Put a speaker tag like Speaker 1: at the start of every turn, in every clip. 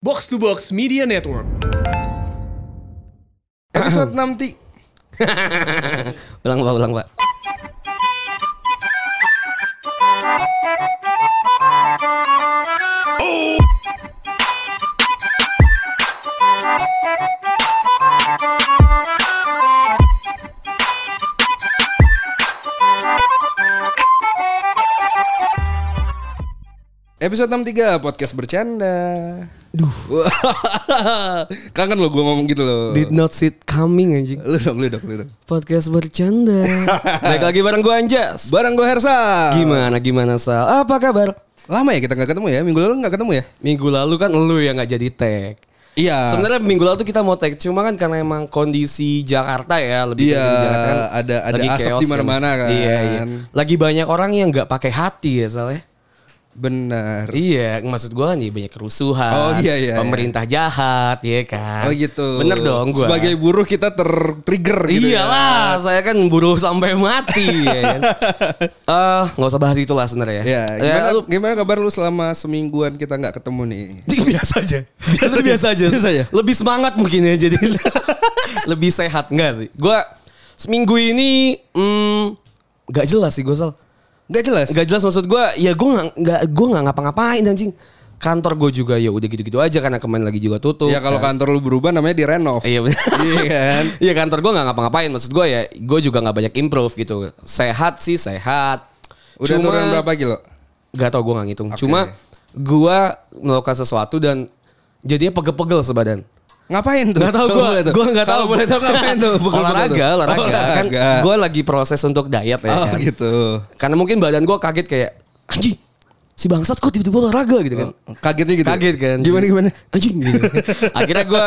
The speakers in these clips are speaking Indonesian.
Speaker 1: Box to Box Media Network.
Speaker 2: Episode 6 ti.
Speaker 3: Ulang pak, ulang pak.
Speaker 2: Episode 63 podcast bercanda. Duh. Kangen lo gue ngomong gitu lo.
Speaker 3: Did not sit coming anjing.
Speaker 2: Lu dong, lu dong, lu dong.
Speaker 3: Podcast bercanda. Baik lagi bareng gua Anjas.
Speaker 2: Barang gue Hersa.
Speaker 3: Gimana gimana Sal? Apa kabar?
Speaker 2: Lama ya kita nggak ketemu ya? Minggu lalu nggak ketemu ya?
Speaker 3: Minggu lalu kan lu yang nggak jadi tag.
Speaker 2: Iya.
Speaker 3: Sebenarnya minggu lalu tuh kita mau tag, cuma kan karena emang kondisi Jakarta ya lebih
Speaker 2: Iya,
Speaker 3: dari Jakarta
Speaker 2: ada- ada
Speaker 3: lagi
Speaker 2: asap
Speaker 3: chaos
Speaker 2: di mana-mana kan.
Speaker 3: Iya, iya. Lagi banyak orang yang nggak pakai hati ya soalnya.
Speaker 2: benar.
Speaker 3: Iya, maksud gua kan ya banyak kerusuhan.
Speaker 2: Oh, iya, iya,
Speaker 3: Pemerintah jahat, ya kan.
Speaker 2: Oh gitu.
Speaker 3: Bener dong gua.
Speaker 2: Sebagai buruh kita ter-trigger gitu ya.
Speaker 3: Iyalah, Iya saya kan buruh sampai mati. ya kan? Eh, nggak usah bahas itulah sebenarnya.
Speaker 2: Ya, gimana,
Speaker 3: lu
Speaker 2: gimana kabar lu selama semingguan kita nggak ketemu nih?
Speaker 3: biasa aja. Biasa, biasa aja.
Speaker 2: Biasa aja.
Speaker 3: Lebih semangat mungkin ya jadi lebih sehat enggak sih? Gua seminggu ini hmm, nggak jelas sih gue sal.
Speaker 2: Nggak jelas.
Speaker 3: Nggak jelas maksud gua, ya gua nggak nggak gua nggak ngapa-ngapain anjing. Kantor gue juga ya udah gitu-gitu aja karena kemarin lagi juga tutup.
Speaker 2: ya kalau
Speaker 3: kan.
Speaker 2: kantor lu berubah namanya direnov.
Speaker 3: Iya bener.
Speaker 2: Iya kan?
Speaker 3: Iya kantor gue nggak ngapa-ngapain maksud gue ya gue juga nggak banyak improve gitu sehat sih sehat
Speaker 2: Udah
Speaker 3: Cuma-
Speaker 2: turun berapa kilo?
Speaker 3: Gak tau gue gak ngitung
Speaker 2: Oke.
Speaker 3: cuma gue melakukan sesuatu dan jadinya pegel-pegel sebadan
Speaker 2: Ngapain tuh?
Speaker 3: Gak
Speaker 2: Kalau
Speaker 3: tau gue
Speaker 2: boleh tuh.
Speaker 3: Gue gak tau
Speaker 2: Kalau boleh tau ngapain tuh? Pukul-pukul tuh.
Speaker 3: Olahraga Olahraga, Kan
Speaker 2: Olahraga.
Speaker 3: gue lagi proses untuk diet ya
Speaker 2: Oh
Speaker 3: kan.
Speaker 2: gitu.
Speaker 3: Karena mungkin badan gue kaget kayak Anjing Si bangsat kok tiba-tiba olahraga gitu kan
Speaker 2: Kagetnya gitu.
Speaker 3: Kaget kan
Speaker 2: Gimana gimana?
Speaker 3: Anjing gitu. Akhirnya gue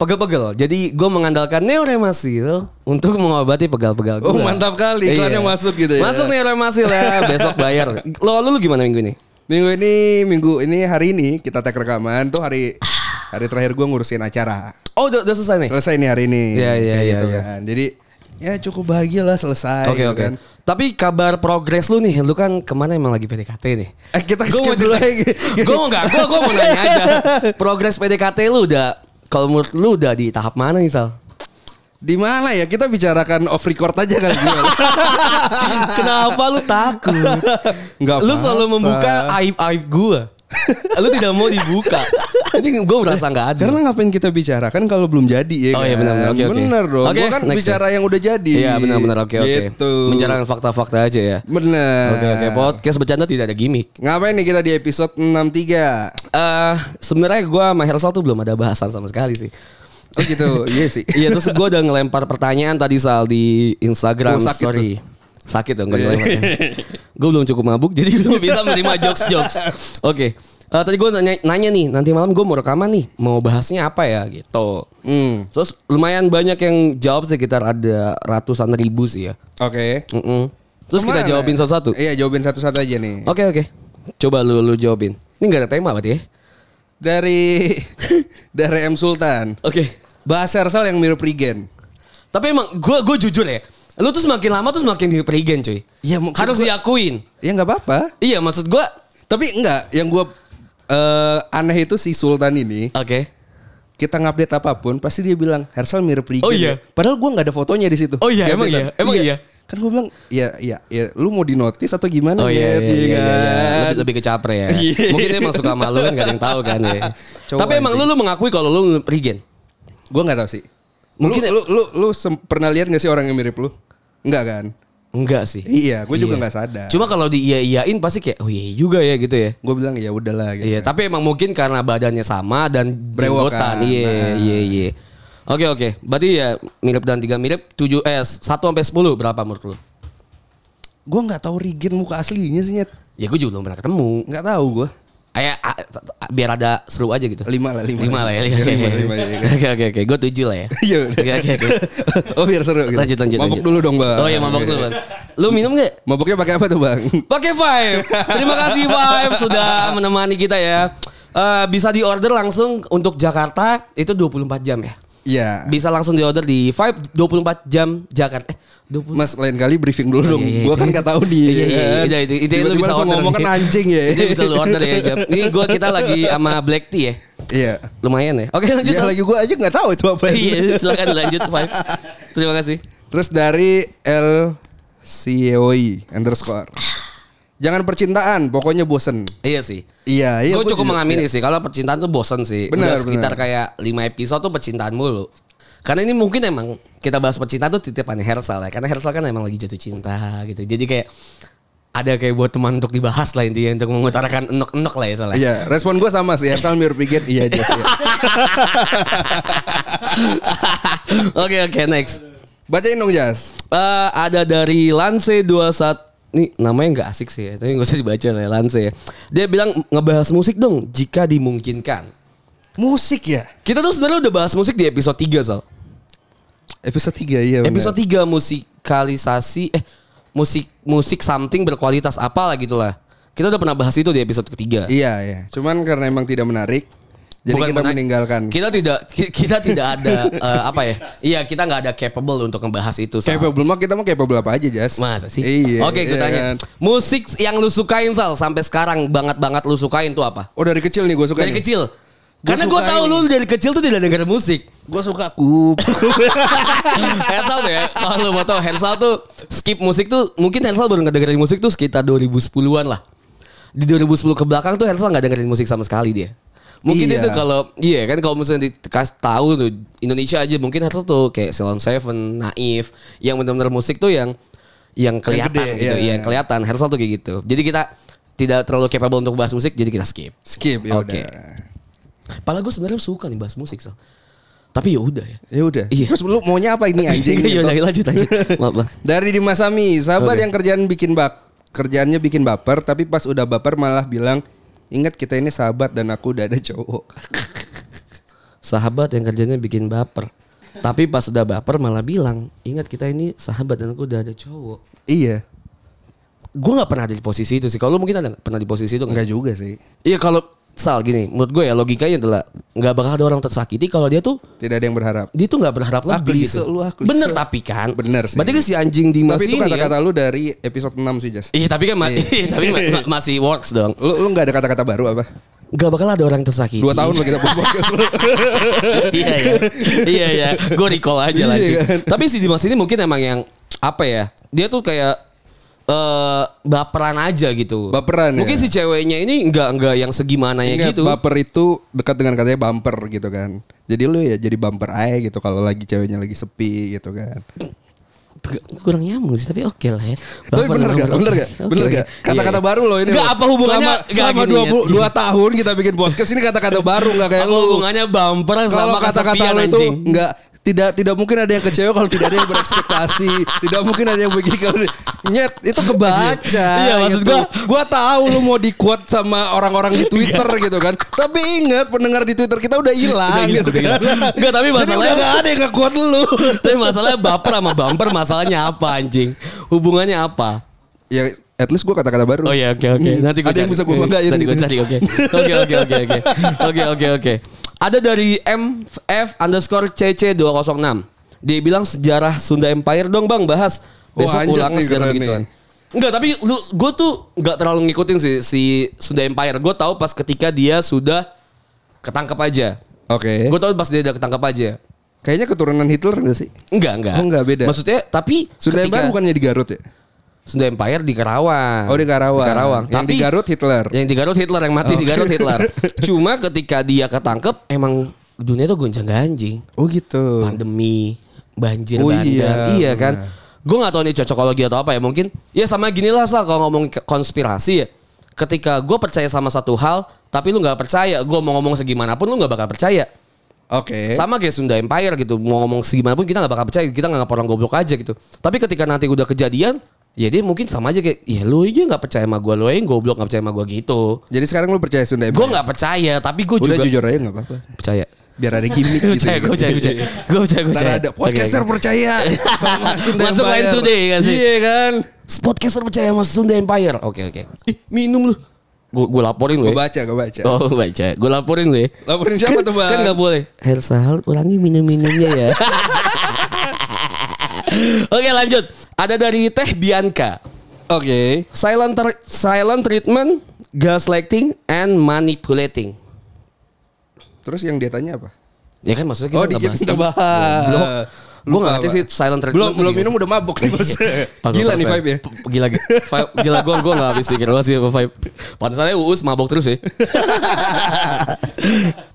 Speaker 3: pegel-pegel Jadi gue mengandalkan Neuremasil Untuk mengobati pegal-pegal
Speaker 2: Oh,
Speaker 3: gua. Iya.
Speaker 2: mantap kali. Iklannya masuk gitu ya.
Speaker 3: Masuk Neuremasil ya Besok bayar Lo lu, lu gimana minggu ini?
Speaker 2: Minggu ini minggu ini hari ini kita tag rekaman tuh hari hari terakhir gue ngurusin acara.
Speaker 3: Oh udah, udah selesai nih?
Speaker 2: Selesai nih hari ini.
Speaker 3: Iya, iya,
Speaker 2: Kayak
Speaker 3: iya,
Speaker 2: gitu
Speaker 3: iya.
Speaker 2: kan. Jadi ya cukup bahagia lah selesai.
Speaker 3: Oke
Speaker 2: gitu
Speaker 3: oke.
Speaker 2: kan.
Speaker 3: Tapi kabar progres lu nih, lu kan kemana emang lagi PDKT nih?
Speaker 2: Eh, kita
Speaker 3: Gua
Speaker 2: skip
Speaker 3: mau
Speaker 2: dulu aja.
Speaker 3: Gue enggak, gue gue mau nanya aja. Progres PDKT lu udah, kalau menurut lu udah di tahap mana nih Sal?
Speaker 2: Di mana ya kita bicarakan off record aja kali ya. gue.
Speaker 3: Kenapa lu takut?
Speaker 2: Enggak apa-apa.
Speaker 3: lu selalu membuka aib aib gue. lu tidak mau dibuka. Ini gue merasa nggak ada.
Speaker 2: Karena ngapain kita bicarakan kalau belum jadi ya
Speaker 3: Oh, iya,
Speaker 2: kan?
Speaker 3: benar-benar. Oke, oke.
Speaker 2: Bener dong.
Speaker 3: Oke,
Speaker 2: Gua kan
Speaker 3: next
Speaker 2: bicara yang udah jadi.
Speaker 3: Iya benar-benar oke oke.
Speaker 2: Gitu. Nah.
Speaker 3: Menjalankan fakta-fakta aja ya.
Speaker 2: Bener.
Speaker 3: Oke oke. Podcast bercanda tidak ada gimmick.
Speaker 2: Ngapain nih kita di episode 63?
Speaker 3: Eh, sebenarnya gue sama Hersal tuh belum ada bahasan sama sekali sih.
Speaker 2: Oh gitu, iya sih.
Speaker 3: Iya terus gue udah ngelempar pertanyaan tadi Sal di
Speaker 2: Oh,
Speaker 3: Instagram
Speaker 2: sakit Iya.
Speaker 3: story. Sakit dong gue Gue belum cukup mabuk jadi belum bisa menerima jokes-jokes. Oke. Eh, tadi gue nanya, nanya nih nanti malam gue mau rekaman nih mau bahasnya apa ya gitu.
Speaker 2: Hmm.
Speaker 3: Terus lumayan banyak yang jawab sekitar ada ratusan ribu sih ya.
Speaker 2: Oke.
Speaker 3: Mm-mm. Terus
Speaker 2: Kemana?
Speaker 3: kita jawabin satu-satu.
Speaker 2: Iya, jawabin satu-satu aja nih.
Speaker 3: Oke oke. Coba lu lu jawabin. Ini gak ada tema berarti ya?
Speaker 2: Dari dari M Sultan.
Speaker 3: Oke.
Speaker 2: Bahasa Ersal yang mirip Regen.
Speaker 3: Tapi emang gue gue jujur ya, lu tuh semakin lama tuh semakin hypergen cuy.
Speaker 2: Iya, mungkin
Speaker 3: harus
Speaker 2: gua-
Speaker 3: diakuin.
Speaker 2: Ya nggak apa-apa.
Speaker 3: Iya maksud gue,
Speaker 2: Tapi enggak, yang gua eh, aneh itu si Sultan ini.
Speaker 3: oke.
Speaker 2: Kita ngupdate apapun pasti dia bilang Hersal mirip Regen.
Speaker 3: Oh iya.
Speaker 2: ya." Padahal gua nggak ada fotonya di situ.
Speaker 3: Oh
Speaker 2: Di
Speaker 3: iya, emang
Speaker 2: updatean.
Speaker 3: iya? Emang iya?
Speaker 2: Kan gua bilang, "Iya, iya, iya, lu mau di notice atau gimana?"
Speaker 3: Oh iya,
Speaker 2: Nyet?"
Speaker 3: iya, iya, iya, iya.
Speaker 2: gitu, kan?
Speaker 3: Lebih, lebih ke capre ya.
Speaker 2: Iya.
Speaker 3: Mungkin dia emang suka sama lu kan gak ada yang tahu kan ya.
Speaker 2: Cowok
Speaker 3: Tapi emang lu,
Speaker 2: anjing.
Speaker 3: lu mengakui kalau lu hypergen.
Speaker 2: Gue nggak tahu sih.
Speaker 3: Mungkin-
Speaker 2: lu, lu, lu, lu sem- pernah lihat gak sih orang yang mirip lu? Enggak kan?
Speaker 3: Enggak sih.
Speaker 2: Iya, gue juga nggak sadar.
Speaker 3: Cuma kalau di iya iyain pasti kayak, oh iya juga ya gitu ya.
Speaker 2: Gue bilang ya udahlah gitu.
Speaker 3: Iya, tapi emang mungkin karena badannya sama dan
Speaker 2: Brewokan.
Speaker 3: jenggotan. Iya,
Speaker 2: Nah.
Speaker 3: iya, iya. Oke, oke. Berarti ya mirip dan tiga mirip, tujuh eh satu sampai sepuluh berapa menurut lu?
Speaker 2: Gue nggak tahu Rigin muka aslinya sih nyet.
Speaker 3: Ya gue juga belum pernah ketemu.
Speaker 2: Nggak tahu gue.
Speaker 3: Ayo, a- t- t- biar ada seru aja gitu.
Speaker 2: Lima lah, lima.
Speaker 3: Lima lah ya.
Speaker 2: Iya, lima, lima,
Speaker 3: lima.
Speaker 2: iya, iya.
Speaker 3: Oke oke oke, gue tujuh lah ya.
Speaker 2: Iya. udah.
Speaker 3: Oke oke oke.
Speaker 2: oh biar seru. Gitu.
Speaker 3: Lanjut lanjut.
Speaker 2: Mabok
Speaker 3: lanjut.
Speaker 2: dulu dong bang.
Speaker 3: Oh iya mabok
Speaker 2: Oke.
Speaker 3: dulu. Bang. Lu minum gak?
Speaker 2: Maboknya pakai apa tuh bang?
Speaker 3: Pakai Vibe. Terima kasih Vibe sudah menemani kita ya. Eh bisa diorder langsung untuk Jakarta itu 24 jam ya.
Speaker 2: Iya.
Speaker 3: Bisa langsung di order di Vibe 24 jam Jakarta. Eh, 20
Speaker 2: Mas lain kali briefing dulu dong.
Speaker 3: iya, iya.
Speaker 2: Gua kan nggak tahu nih.
Speaker 3: Iya, iya, iya. Udah, itu, itu lu
Speaker 2: Tiba-tiba
Speaker 3: bisa
Speaker 2: langsung
Speaker 3: order
Speaker 2: ngomong
Speaker 3: nih.
Speaker 2: kan anjing ya.
Speaker 3: Itu bisa lu order ya, Jam. Ini gua kita lagi sama black tea ya.
Speaker 2: Iya.
Speaker 3: Lumayan ya. Oke, lanjut.
Speaker 2: Ya lagi gua aja nggak tahu itu apa.
Speaker 3: Iya, silakan lanjut Vibe. Terima kasih.
Speaker 2: Terus dari L Sioi underscore. Jangan percintaan, pokoknya bosen.
Speaker 3: Iya sih.
Speaker 2: Iya, iya.
Speaker 3: Gua
Speaker 2: gua
Speaker 3: cukup
Speaker 2: juga-
Speaker 3: mengamini sih kalau percintaan tuh bosan sih.
Speaker 2: Benar,
Speaker 3: Udah sekitar
Speaker 2: benar.
Speaker 3: kayak 5 episode tuh percintaan mulu. Karena ini mungkin emang kita bahas percintaan tuh titipannya Hersal ya. Karena Hersal kan emang lagi jatuh cinta gitu. Jadi kayak ada kayak buat teman untuk dibahas lah intinya untuk mengutarakan enok-enok lah ya soalnya.
Speaker 2: Iya, respon gua sama sih. Asal mirip pikir, iya aja sih.
Speaker 3: Ah, Oke oke next.
Speaker 2: Bacain dong Jas.
Speaker 3: Eh, ada dari Lance 21 Nih namanya nggak asik sih ya, tapi nggak usah dibaca lah ya, Lance ya. Dia bilang ngebahas musik dong jika dimungkinkan.
Speaker 2: Musik ya.
Speaker 3: Kita tuh sebenarnya udah bahas musik di episode 3 Sal.
Speaker 2: Episode 3 iya. benar.
Speaker 3: Episode 3 musikalisasi eh musik musik something berkualitas apalah gitu lah. Kita udah pernah bahas itu di episode ketiga.
Speaker 2: Iya, iya. Cuman karena emang tidak menarik, jadi
Speaker 3: Bukan
Speaker 2: kita
Speaker 3: menarik.
Speaker 2: meninggalkan.
Speaker 3: Kita tidak ki- kita tidak ada eh, apa ya? Iya, kita nggak ada capable untuk ngebahas itu. Sal.
Speaker 2: Capable mah kita mah capable apa aja, Jas?
Speaker 3: Masa sih?
Speaker 2: Iya.
Speaker 3: Oke, gue
Speaker 2: iya
Speaker 3: tanya.
Speaker 2: kan?
Speaker 3: Musik yang lu sukain Sal sampai sekarang banget-banget lu sukain tuh apa?
Speaker 2: Oh, dari kecil nih gue suka.
Speaker 3: Dari kecil. Karena gue
Speaker 2: suka
Speaker 3: tahu
Speaker 2: ini.
Speaker 3: lu dari kecil tuh tidak dengar musik.
Speaker 2: gue suka kup.
Speaker 3: Hersal tuh ya Kalau lu mau tau Hersal tuh Skip musik tuh Mungkin Hersal baru ngedengerin musik tuh Sekitar 2010-an lah Di 2010 ke belakang tuh Hersal nggak dengerin musik sama sekali dia Mungkin
Speaker 2: Iya.
Speaker 3: itu kalau Iya kan kalau misalnya dikasih tahu tuh Indonesia aja mungkin Hersal tuh Kayak Salon Seven Naif Yang benar-benar musik tuh yang Yang kelihatan
Speaker 2: gede, iya,
Speaker 3: gitu Iya, Yang
Speaker 2: iya.
Speaker 3: kelihatan Hersal tuh kayak gitu Jadi kita Tidak terlalu capable untuk bahas musik Jadi kita skip
Speaker 2: Skip ya
Speaker 3: Oke.
Speaker 2: udah.
Speaker 3: Padahal gue sebenarnya suka nih bahas musik Sal Tapi ya udah ya
Speaker 2: Ya udah.
Speaker 3: Iya.
Speaker 2: Terus lu maunya apa ini anjing? Gitu.
Speaker 3: Iya lanjut aja Maaf Bang.
Speaker 2: dari Dimas Sami, sahabat
Speaker 3: Oke.
Speaker 2: yang kerjaan bikin bak kerjaannya bikin baper, tapi pas udah baper malah bilang Ingat kita ini sahabat dan aku udah ada cowok.
Speaker 3: sahabat yang kerjanya bikin baper. Tapi pas sudah baper malah bilang, ingat kita ini sahabat dan aku udah ada cowok.
Speaker 2: iya.
Speaker 3: Gue nggak pernah ada di posisi itu sih. Kalau lu mungkin ada nggak pernah di posisi itu nggak?
Speaker 2: Enggak juga sih.
Speaker 3: Iya kalau sal gini, menurut gue ya logikanya adalah nggak bakal ada orang tersakiti kalau dia tuh
Speaker 2: Tidak ada yang berharap.
Speaker 3: dia tuh nggak berharap
Speaker 2: Ah,
Speaker 3: lebih gitu.
Speaker 2: klise lu, ah, klise.
Speaker 3: Bener tapi kan.
Speaker 2: Bener sih.
Speaker 3: Berarti kan si anjing di
Speaker 2: Tapi
Speaker 3: masih
Speaker 2: itu
Speaker 3: ini
Speaker 2: kata-kata
Speaker 3: kan.
Speaker 2: lu dari episode 6 sih, Jas.
Speaker 3: Iya tapi kan ma- tapi ma- ma- masih works dong.
Speaker 2: Lu lu enggak ada kata-kata baru apa? Gitu.
Speaker 3: Gak bakal ada orang tersakiti.
Speaker 2: Dua tahun lo kita buat podcast lu.
Speaker 3: iya ya. Iya ya. Gue recall aja
Speaker 2: Iya
Speaker 3: lanjut.
Speaker 2: kan?
Speaker 3: Tapi si Dimas ini mungkin emang yang apa ya? Dia tuh kayak eh baperan aja gitu.
Speaker 2: Baperan ya?
Speaker 3: Mungkin si ceweknya ini enggak enggak yang segimananya
Speaker 2: Ingat,
Speaker 3: gitu.
Speaker 2: Baper itu dekat dengan katanya bumper gitu kan. Jadi lu ya jadi bumper aja gitu kalau lagi ceweknya lagi sepi gitu kan.
Speaker 3: kurang nyambung sih tapi oke lah ya.
Speaker 2: Tapi bener gak? Bener gak? Bener gak?
Speaker 3: Iya,
Speaker 2: Kata-kata baru loh ini.
Speaker 3: Enggak
Speaker 2: loh.
Speaker 3: apa hubungannya? gitu ya.
Speaker 2: Selama, selama dua, bu- dua tahun kita bikin podcast ini kata-kata baru gak kayak
Speaker 3: Apa
Speaker 2: lu.
Speaker 3: hubungannya bumper
Speaker 2: Kalau
Speaker 3: sama
Speaker 2: kata-kata
Speaker 3: kesepian,
Speaker 2: lu itu
Speaker 3: anjing?
Speaker 2: enggak tidak tidak mungkin ada yang kecewa kalau tidak ada yang berekspektasi tidak mungkin ada yang begini kalau nyet itu kebaca
Speaker 3: Iya, maksud
Speaker 2: gitu.
Speaker 3: gua- Iya.
Speaker 2: gua tahu lu mau di quote sama orang-orang di Twitter gitu kan tapi ingat pendengar di Twitter kita udah
Speaker 3: Udah
Speaker 2: hilang
Speaker 3: hilang,
Speaker 2: gitu
Speaker 3: udah hilang.
Speaker 2: kan
Speaker 3: Enggak, tapi
Speaker 2: Jadi
Speaker 3: masalahnya-
Speaker 2: udah enggak ada yang nge-quote lu
Speaker 3: Tapi masalahnya baper sama bumper masalahnya apa anjing? Hubungannya apa?
Speaker 2: ya at least gua kata-kata baru
Speaker 3: Oh iya oke oke.
Speaker 2: Hmm.
Speaker 3: Nanti gue
Speaker 2: ada yang bisa gua banggain
Speaker 3: Nanti gue
Speaker 2: gitu.
Speaker 3: cari oke. Oke oke oke oke. Oke oke oke. Ada dari MF underscore CC 206. Dia bilang sejarah Sunda Empire dong bang bahas.
Speaker 2: Wah,
Speaker 3: Besok
Speaker 2: Oh, anjas
Speaker 3: ulang
Speaker 2: nih
Speaker 3: sejarah
Speaker 2: keren
Speaker 3: begituan.
Speaker 2: nih.
Speaker 3: Enggak tapi lu, gue tuh nggak terlalu ngikutin sih si Sunda Empire. Gue tahu pas ketika dia sudah ketangkap aja.
Speaker 2: oke
Speaker 3: Gue tahu pas dia udah ketangkap aja.
Speaker 2: kayaknya keturunan Hitler enggak sih
Speaker 3: Enggak enggak.
Speaker 2: Oh, enggak, beda.
Speaker 3: Maksudnya tapi
Speaker 2: Sunda
Speaker 3: ketika-
Speaker 2: Empire bukannya di Garut ya
Speaker 3: Sunda Empire di Karawang.
Speaker 2: Oh, di Karawang. Yang
Speaker 3: Tapi
Speaker 2: di Garut Hitler. Oh.
Speaker 3: Yang di Garut Hitler yang mati di Garut Hitler. Cuma ketika dia ketangkep emang dunia tuh gonjang-ganjing.
Speaker 2: oh gitu
Speaker 3: Pandemi, banjir
Speaker 2: Oh,
Speaker 3: bandang.
Speaker 2: iya,
Speaker 3: iya kan.
Speaker 2: benar.
Speaker 3: Gue gak tahu ini cocokologi atau apa ya mungkin. Ya sama gini lah Sal kalau ngomong ke- konspirasi ya. Ketika gue percaya sama satu hal, tapi lu nggak percaya, gue mau ngomong segimanapun lu nggak bakal percaya.
Speaker 2: oke
Speaker 3: Sama kayak Sunda Empire gitu. Mau ngomong segimanapun kita nggak bakal percaya. Kita nggak orang goblok aja gitu. Tapi ketika nanti udah kejadian, ya dia mungkin sama aja kayak, ya lu aja nggak percaya sama gue, lu aja yang goblok nggak percaya sama gue gitu.
Speaker 2: jadi sekarang lu percaya Sunda Empire
Speaker 3: Gue nggak percaya, tapi gue
Speaker 2: udah
Speaker 3: juga
Speaker 2: jujur aja nggak apa-apa
Speaker 3: percaya.
Speaker 2: biar ada gimmick gitu
Speaker 3: Gue percaya, gue percaya, gue percaya, gue percaya, gue
Speaker 2: Ntar
Speaker 3: percaya.
Speaker 2: ada podcaster
Speaker 3: Oke, oke.
Speaker 2: percaya sama Sunda
Speaker 3: Masuk
Speaker 2: Empire.
Speaker 3: Line Today kan sih?
Speaker 2: iya kan
Speaker 3: Podcaster percaya sama Sunda Empire. Oke oke. Ih minum lu. Gue gue laporin lu
Speaker 2: Gue
Speaker 3: ya.
Speaker 2: baca, gue baca.
Speaker 3: Oh lu baca. Gue laporin lu ya.
Speaker 2: Laporin siapa tuh bang?
Speaker 3: Kan gak boleh. Hersal ulangi minum-minumnya ya. Oke lanjut. Ada dari Teh Bianca.
Speaker 2: Oke.
Speaker 3: Silent, tr- silent treatment, gaslighting, and manipulating.
Speaker 2: Terus yang dia tanya apa?
Speaker 3: Ya kan maksudnya kita
Speaker 2: Oh, dia
Speaker 3: nggak
Speaker 2: kita
Speaker 3: bahas.
Speaker 2: bahas.
Speaker 3: Gue gak
Speaker 2: Lupa,
Speaker 3: ngerti
Speaker 2: Pak.
Speaker 3: sih silent treatment.
Speaker 2: Belum belum minum udah mabok nih bos. Gila nih vibe ya.
Speaker 3: Gila, gila, vibe- gila gue gua gak habis pikir banget sih apa vibe. Pantesannya Uus mabok terus ya.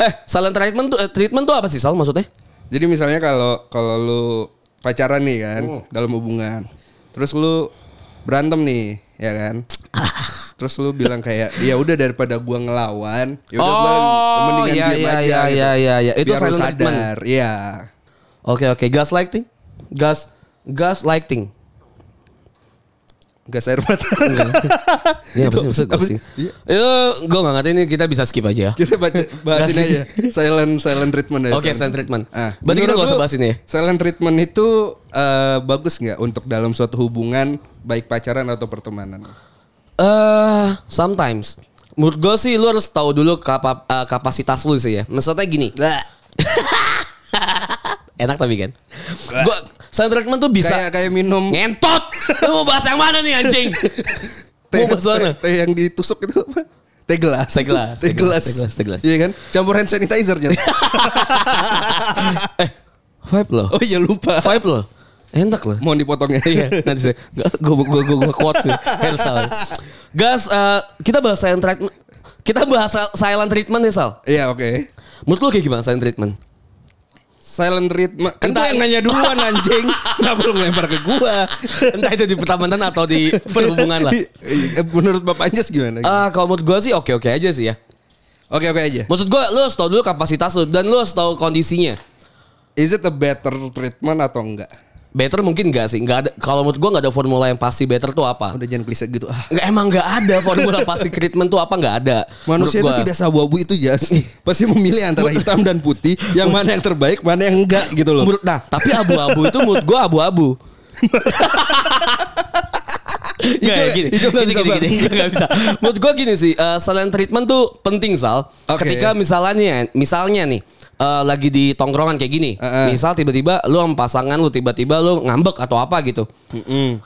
Speaker 3: eh, silent treatment tuh, eh, treatment tuh apa sih Sal maksudnya?
Speaker 2: Jadi misalnya kalau kalau lu pacaran nih kan
Speaker 3: Hmm.
Speaker 2: dalam hubungan, terus lu berantem nih, ya kan? terus lu bilang kayak ya udah daripada gua ngelawan, ya udah
Speaker 3: Oh,
Speaker 2: gua mendingan
Speaker 3: iya,
Speaker 2: diem
Speaker 3: iya,
Speaker 2: aja.
Speaker 3: iya,
Speaker 2: gitu.
Speaker 3: iya, iya, iya. Itu
Speaker 2: Biar lu
Speaker 3: silent treatment.
Speaker 2: sadar. Iya.
Speaker 3: Oke oke, gas lighting, gas gas lighting.
Speaker 2: Gas air mata.
Speaker 3: Iya. Ini apa
Speaker 2: Itu-
Speaker 3: sih maksud gue
Speaker 2: apa
Speaker 3: sih?
Speaker 2: sih? Iya.
Speaker 3: Itu gue gak ngerti ini kita bisa skip aja ya.
Speaker 2: Kita baca bahasin
Speaker 3: Gas.
Speaker 2: aja silent silent treatment aja.
Speaker 3: Oke, silent treatment.
Speaker 2: Ah,
Speaker 3: Berarti kita
Speaker 2: menurut
Speaker 3: nggak usah
Speaker 2: lu,
Speaker 3: bahas ini ya?
Speaker 2: Silent treatment itu eh, bagus nggak untuk dalam suatu hubungan baik pacaran atau pertemanan?
Speaker 3: Eh, sometimes. Menurut gue sih lu harus tahu dulu kapa- eh, kapasitas lu sih ya. Maksudnya gini, enak tapi kan. Gua silent treatment tuh bisa
Speaker 2: Kayak kayak minum
Speaker 3: ngentot. lu mau bahas yang mana nih anjing?
Speaker 2: teh,
Speaker 3: mau bahas mana?
Speaker 2: teh- teh yang ditusuk itu apa? Teh gelas.
Speaker 3: Teh gelas,
Speaker 2: Teh
Speaker 3: teh
Speaker 2: gelas.
Speaker 3: gelas, teh gelas, teh gelas.
Speaker 2: Iya kan? Campur hand sanitizernya.
Speaker 3: Eh, Vibe lo.
Speaker 2: oh iya lupa.
Speaker 3: Vibe lo. Enak loh.
Speaker 2: Mohon ya. dipotongnya.
Speaker 3: iya nanti saya gue gue gue gue quote sih Hair Sal. Gas eh, kita bahas silent treatment kita bahas sil- silent treatment nih Sal.
Speaker 2: Iya, oke.
Speaker 3: Menurut lu kayak gimana silent treatment?
Speaker 2: Silent treatment. Kan
Speaker 3: Entah-
Speaker 2: gua yang nanya duluan anjing. Kenapa lu ngelempar ke gua?
Speaker 3: Entah itu di pertemanan atau di perhubungan lah.
Speaker 2: Eh, Iya. Menurut Bapak Anjas gimana?
Speaker 3: Ah kalau menurut gue sih oke oke aja sih ya.
Speaker 2: Oke oke aja.
Speaker 3: Maksud gue lu harus tahu dulu kapasitas lu dan lu harus tahu kondisinya.
Speaker 2: Is it a better treatment atau enggak?
Speaker 3: Better mungkin gak sih? Gak ada. Kalau menurut gue nggak ada formula yang pasti better tuh apa?
Speaker 2: Udah jangan klise gitu ah.
Speaker 3: Nggak, emang nggak ada formula pasti treatment tuh apa nggak ada.
Speaker 2: Manusia itu
Speaker 3: Menurut gua.
Speaker 2: tidak sabu-abu itu jas. Pasti memilih antara hitam dan putih, yang mana yang terbaik, mana yang enggak gitu loh.
Speaker 3: Menurut- nah, tapi abu-abu itu menurut gua abu-abu. Nggak,
Speaker 2: Ijo-
Speaker 3: ya, gini,
Speaker 2: Ijo nggak
Speaker 3: gini,
Speaker 2: bisa,
Speaker 3: gini,
Speaker 2: Bang.
Speaker 3: gini, Nggak bisa. Menurut gua gini sih, eh, silent treatment tuh penting Sal.
Speaker 2: Oke.
Speaker 3: Ketika misalnya, misalnya nih, eh, lagi di tongkrongan kayak gini,
Speaker 2: Heeh.
Speaker 3: misal tiba-tiba lu sama pasangan lu tiba-tiba lu ngambek atau apa gitu.